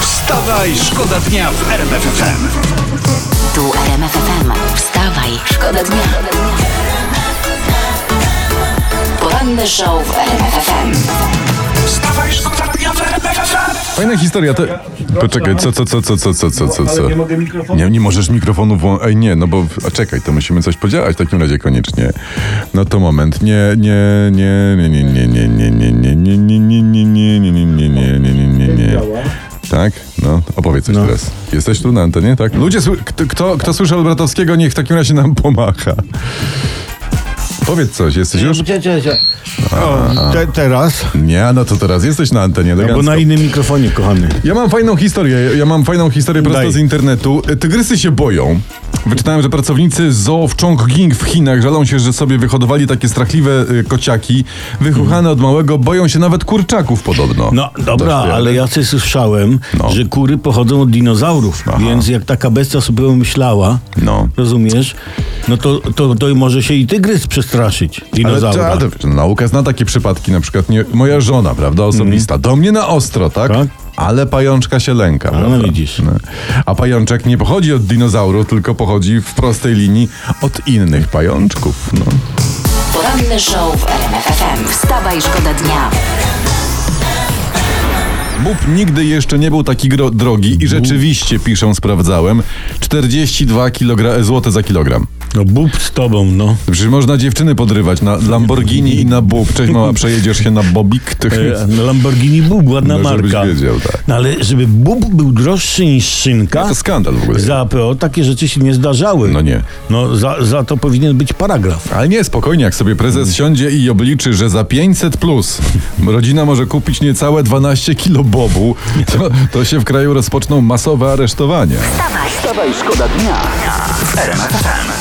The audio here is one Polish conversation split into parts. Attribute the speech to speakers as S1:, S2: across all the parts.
S1: Wstawaj, szkoda dnia w RMFFM.
S2: Tu RMF FM. Wstawaj, szkoda dnia. Poranny show w RMF FM.
S1: Wstawaj, szkoda dnia w RMFFM.
S3: Fajna historia, to... Poczekaj, co, co, co, co, co, co, co, co, co?
S4: Ale nie mogę mikrofonu.
S3: Nie, nie możesz mikrofonu włączyć. Ej, nie, no bo... A czekaj, to musimy coś podziałać w takim razie koniecznie. No to moment. Nie, nie, nie, nie, nie, nie, nie, nie, nie, nie, nie, nie, nie, nie, nie, nie, nie, nie, nie, nie, nie, nie, nie. Tak? No, opowiedz coś teraz. Jesteś tu na antenie, tak? Ludzie, sły- kto, kto, kto słyszy Albratowskiego, niech w takim razie nam pomacha. Powiedz coś, jesteś już?
S4: Cie, cie, cie.
S5: Te, teraz?
S3: Nie, no to teraz jesteś na antenie,
S5: Bo
S3: elegancko.
S5: na innym mikrofonie, kochany.
S3: Ja mam fajną historię. Ja mam fajną historię prosto
S5: Daj.
S3: z internetu. E, Tygrysy się boją. Wyczytałem, że pracownicy zoo w Chongqing w Chinach żalą się, że sobie wyhodowali takie strachliwe y, kociaki, wychuchane od małego, boją się nawet kurczaków podobno.
S5: No dobra,
S3: Też,
S5: ale ja coś słyszałem,
S3: No.
S5: że kury pochodzą od dinozaurów, więc jak taka bestia sobie myślała,
S3: No.
S5: rozumiesz, no to, to, to może się i tygrys przestraszyć
S3: Ale
S5: dinozaura.
S3: trzeba- to- nauka no, zna takie przypadki, na przykład nie, moja żona, prawda, osobista, do mnie na ostro, tak?
S5: Mhm. Tak.
S3: Ale pajączka się lęka,
S5: no
S3: prawda?
S5: widzisz.
S3: No. A pajączek nie pochodzi od dinozauru, tylko pochodzi w prostej linii od innych pajączków, no.
S2: Poranny show w RMF FM. Wstawaj, szkoda dnia.
S3: Bób nigdy jeszcze nie był taki gro- drogi i rzeczywiście, piszą, sprawdzałem, 42 kg e, złote za kilogram.
S5: No bób z tobą, no.
S3: Przecież można dziewczyny podrywać na Lamborghini i na Bób. Cześć mała, przejedziesz się na Bobik. To
S5: E, no, Lamborghini Bób, ładna
S3: No, żebyś
S5: marka.
S3: wiedział, tak. No
S5: No ale żeby Bób był droższy niż szynka,
S3: to skandal w ogóle.
S5: za APO takie rzeczy się nie zdarzały.
S3: No nie.
S5: No za, za to powinien być paragraf.
S3: Ale nie, spokojnie, jak sobie prezes siądzie i obliczy, że za 500 plus rodzina może kupić niecałe 12 kilo bobu, to, to się w kraju rozpoczną masowe aresztowania.
S1: Wstawaj, szkoda dnia w RMFFM.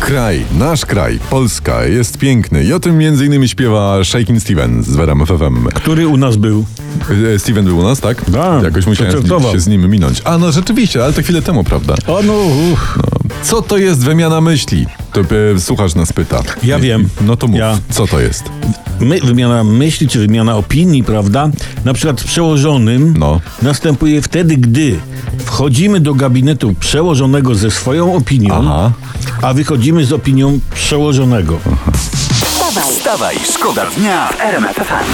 S3: Kraj, nasz kraj, Polska, jest piękny i o tym między innymi śpiewa Shakin' Steven z Veram FFM.
S5: Który u nas był?
S3: E, Steven był u nas, tak?
S5: Tak,
S3: Jakoś musiałem z nim,
S5: koncertował.
S3: się z nim minąć. A no rzeczywiście, ale to chwilę temu, prawda?
S5: O no, uch.
S3: Co to jest wymiana myśli? To e, słuchacz nas pyta.
S5: Ja
S3: I-
S5: wiem.
S3: No to mów,
S5: Ja.
S3: co to jest?
S5: My, wymiana myśli czy wymiana opinii, prawda? Na przykład z przełożonym
S3: No.
S5: następuje wtedy, gdy wchodzimy do gabinetu przełożonego ze swoją opinią,
S3: Aha.
S5: a wychodzimy z opinią przełożonego.
S2: Wstawaj,
S1: Wstawaj, szkoda dnia w RMFFM.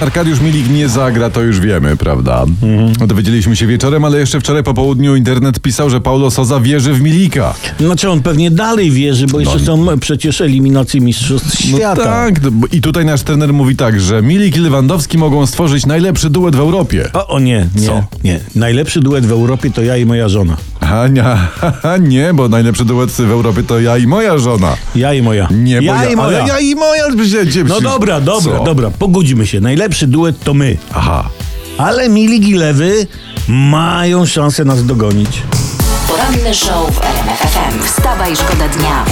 S3: Arkadiusz Milik nie zagra, to już wiemy, prawda?
S5: Mhm.
S3: Dowiedzieliśmy się wieczorem, ale jeszcze wczoraj po południu internet pisał, że Paulo Soza wierzy w Milika.
S5: Znaczy on pewnie dalej wierzy, bo jeszcze są przecież eliminacje Mistrzostw
S3: No
S5: Świata.
S3: tak, d- bo- i tutaj nasz trener mówi tak, że Milik i Lewandowski mogą stworzyć najlepszy duet w Europie.
S5: O, o nie, nie,
S3: Co?
S5: nie. Najlepszy duet w Europie to ja i moja żona.
S3: A nie, a nie, bo najlepszy duet w Europie to ja i moja żona.
S5: Ja i moja.
S3: Nie, bo
S5: ja i moja.
S3: Ale ja i moja. że się-
S5: No dobra, dobra,
S3: Co?
S5: dobra, pogódźmy się. Najlepszy duet to my.
S3: Aha.
S5: Ale Milik i Lewy mają szansę nas dogonić.
S2: poranny show w RMF FM. Wstawaj, szkoda dnia.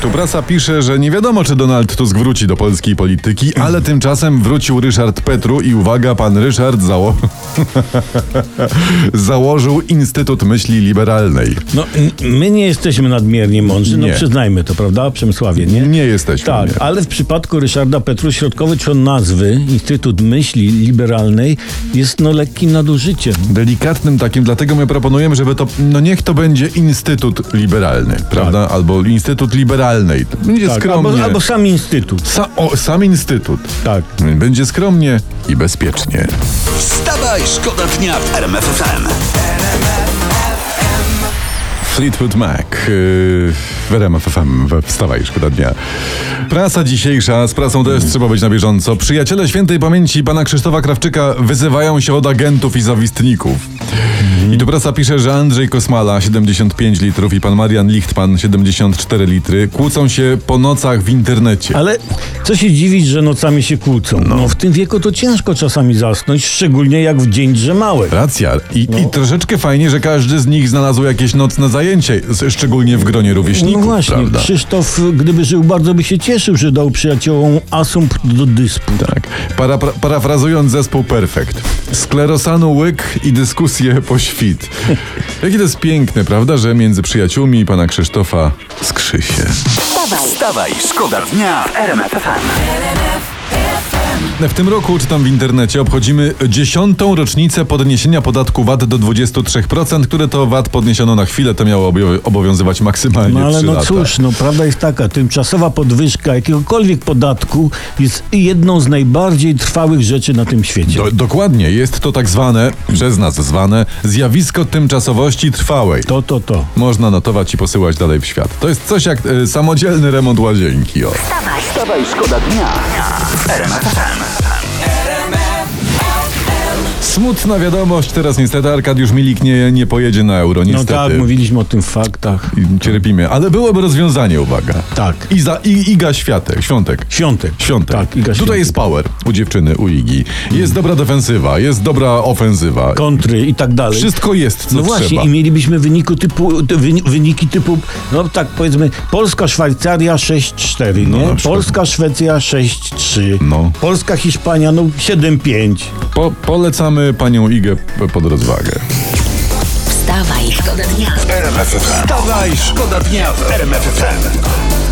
S3: Tu prasa pisze, że nie wiadomo, czy Donald Tusk wróci do polskiej polityki, ale tymczasem wrócił Ryszard Petru i uwaga, pan Ryszard zało... założył Instytut Myśli Liberalnej.
S5: No, n- my nie jesteśmy nadmiernie mądrzy,
S3: Nie.
S5: no przyznajmy to, prawda, Przemysławie, nie?
S3: Nie jesteśmy.
S5: Tak,
S3: nie.
S5: ale w przypadku Ryszarda Petru środkowy człon nazwy Instytut Myśli Liberalnej jest no lekkim nadużyciem.
S3: Delikatnym takim, dlatego my proponujemy, żeby to, no niech to będzie Instytut Liberalny, prawda? Albo Instytut Liberalnej. Będzie
S5: Tak,
S3: skromnie.
S5: albo, albo sam Instytut.
S3: Sa- o, sam Instytut.
S5: Tak.
S3: Będzie skromnie i bezpiecznie.
S1: Wstawaj, szkoda dnia w RMFFM.
S3: Fleetwood Mac. Yy, w RMF FM, we- wstawaj, szkoda dnia. Prasa dzisiejsza, z prasą też trzeba być na bieżąco. Przyjaciele świętej pamięci pana Krzysztofa Krawczyka wyzywają się od agentów i zawistników. I tu prasa pisze, że Andrzej Kosmala 75 litrów i pan Marian Lichtman 74 litry kłócą się po nocach w internecie.
S5: Ale co się dziwić, że nocami się kłócą? No, w tym wieku to ciężko czasami zasnąć, szczególnie jak w dzień drzemałek.
S3: Racja. I,
S5: No.
S3: I troszeczkę fajnie, że każdy z nich znalazł jakieś nocne zajęcie, z- szczególnie w gronie
S5: No
S3: rówieśników,
S5: właśnie,
S3: prawda?
S5: Krzysztof, gdyby żył, bardzo by się cieszył, że dał przyjaciołom asumpt do dyspu.
S3: Tak. Para, pra, parafrazując zespół Perfect. Sklerosanu łyk i dyskusje po świt. Jakie to jest piękne, prawda, że między przyjaciółmi pana Krzysztofa skrzy się.
S2: Wstawaj,
S1: Wstawaj, szkoda dnia w RMFFM.
S3: W tym roku, czytam w internecie, obchodzimy dziesiątą rocznicę podniesienia podatku VAT do 23%, które to VAT podniesiono na chwilę, to miało objo- obowiązywać maksymalnie
S5: No ale
S3: 3
S5: no
S3: lata.
S5: cóż, no prawda jest taka, tymczasowa podwyżka jakiegokolwiek podatku jest jedną z najbardziej trwałych rzeczy na tym świecie.
S3: Do, dokładnie, jest to tak zwane, przez nas zwane, zjawisko tymczasowości trwałej.
S5: To, to, to. No
S3: Można notować i posyłać dalej w świat. To jest coś jak y, samodzielny remont łazienki, o.
S1: Wstawaj, szkoda dnia w RMF FM.
S3: Smutna wiadomość, teraz niestety Arkadiusz Milik nie, nie pojedzie na euro,
S5: No
S3: niestety.
S5: tak, mówiliśmy o tym w faktach.
S3: I Cierpimy, ale byłoby rozwiązanie, uwaga.
S5: Tak.
S3: Iza, I, Iga Światek, Świątek.
S5: Świątek.
S3: Świątek.
S5: Tak, Iga
S3: Tutaj jest power u dziewczyny, u Igi. Jest dobra defensywa, jest dobra ofensywa.
S5: kontry i tak dalej.
S3: Wszystko jest, co
S5: No właśnie,
S3: trzeba.
S5: i mielibyśmy wyniku typu, ty- wyni- wyniki typu, no tak powiedzmy, Polska-Szwajcaria 6-4,
S3: No, na
S5: nie?
S3: przykład.
S5: Polska-Szwecja 6-3,
S3: No.
S5: Polska-Hiszpania no 7-5.
S3: Po, polecamy panią Igę p- pod rozwagę.
S2: Wstawaj, szkoda dnia.
S1: Wstawaj, szkoda dnia w RMF FM.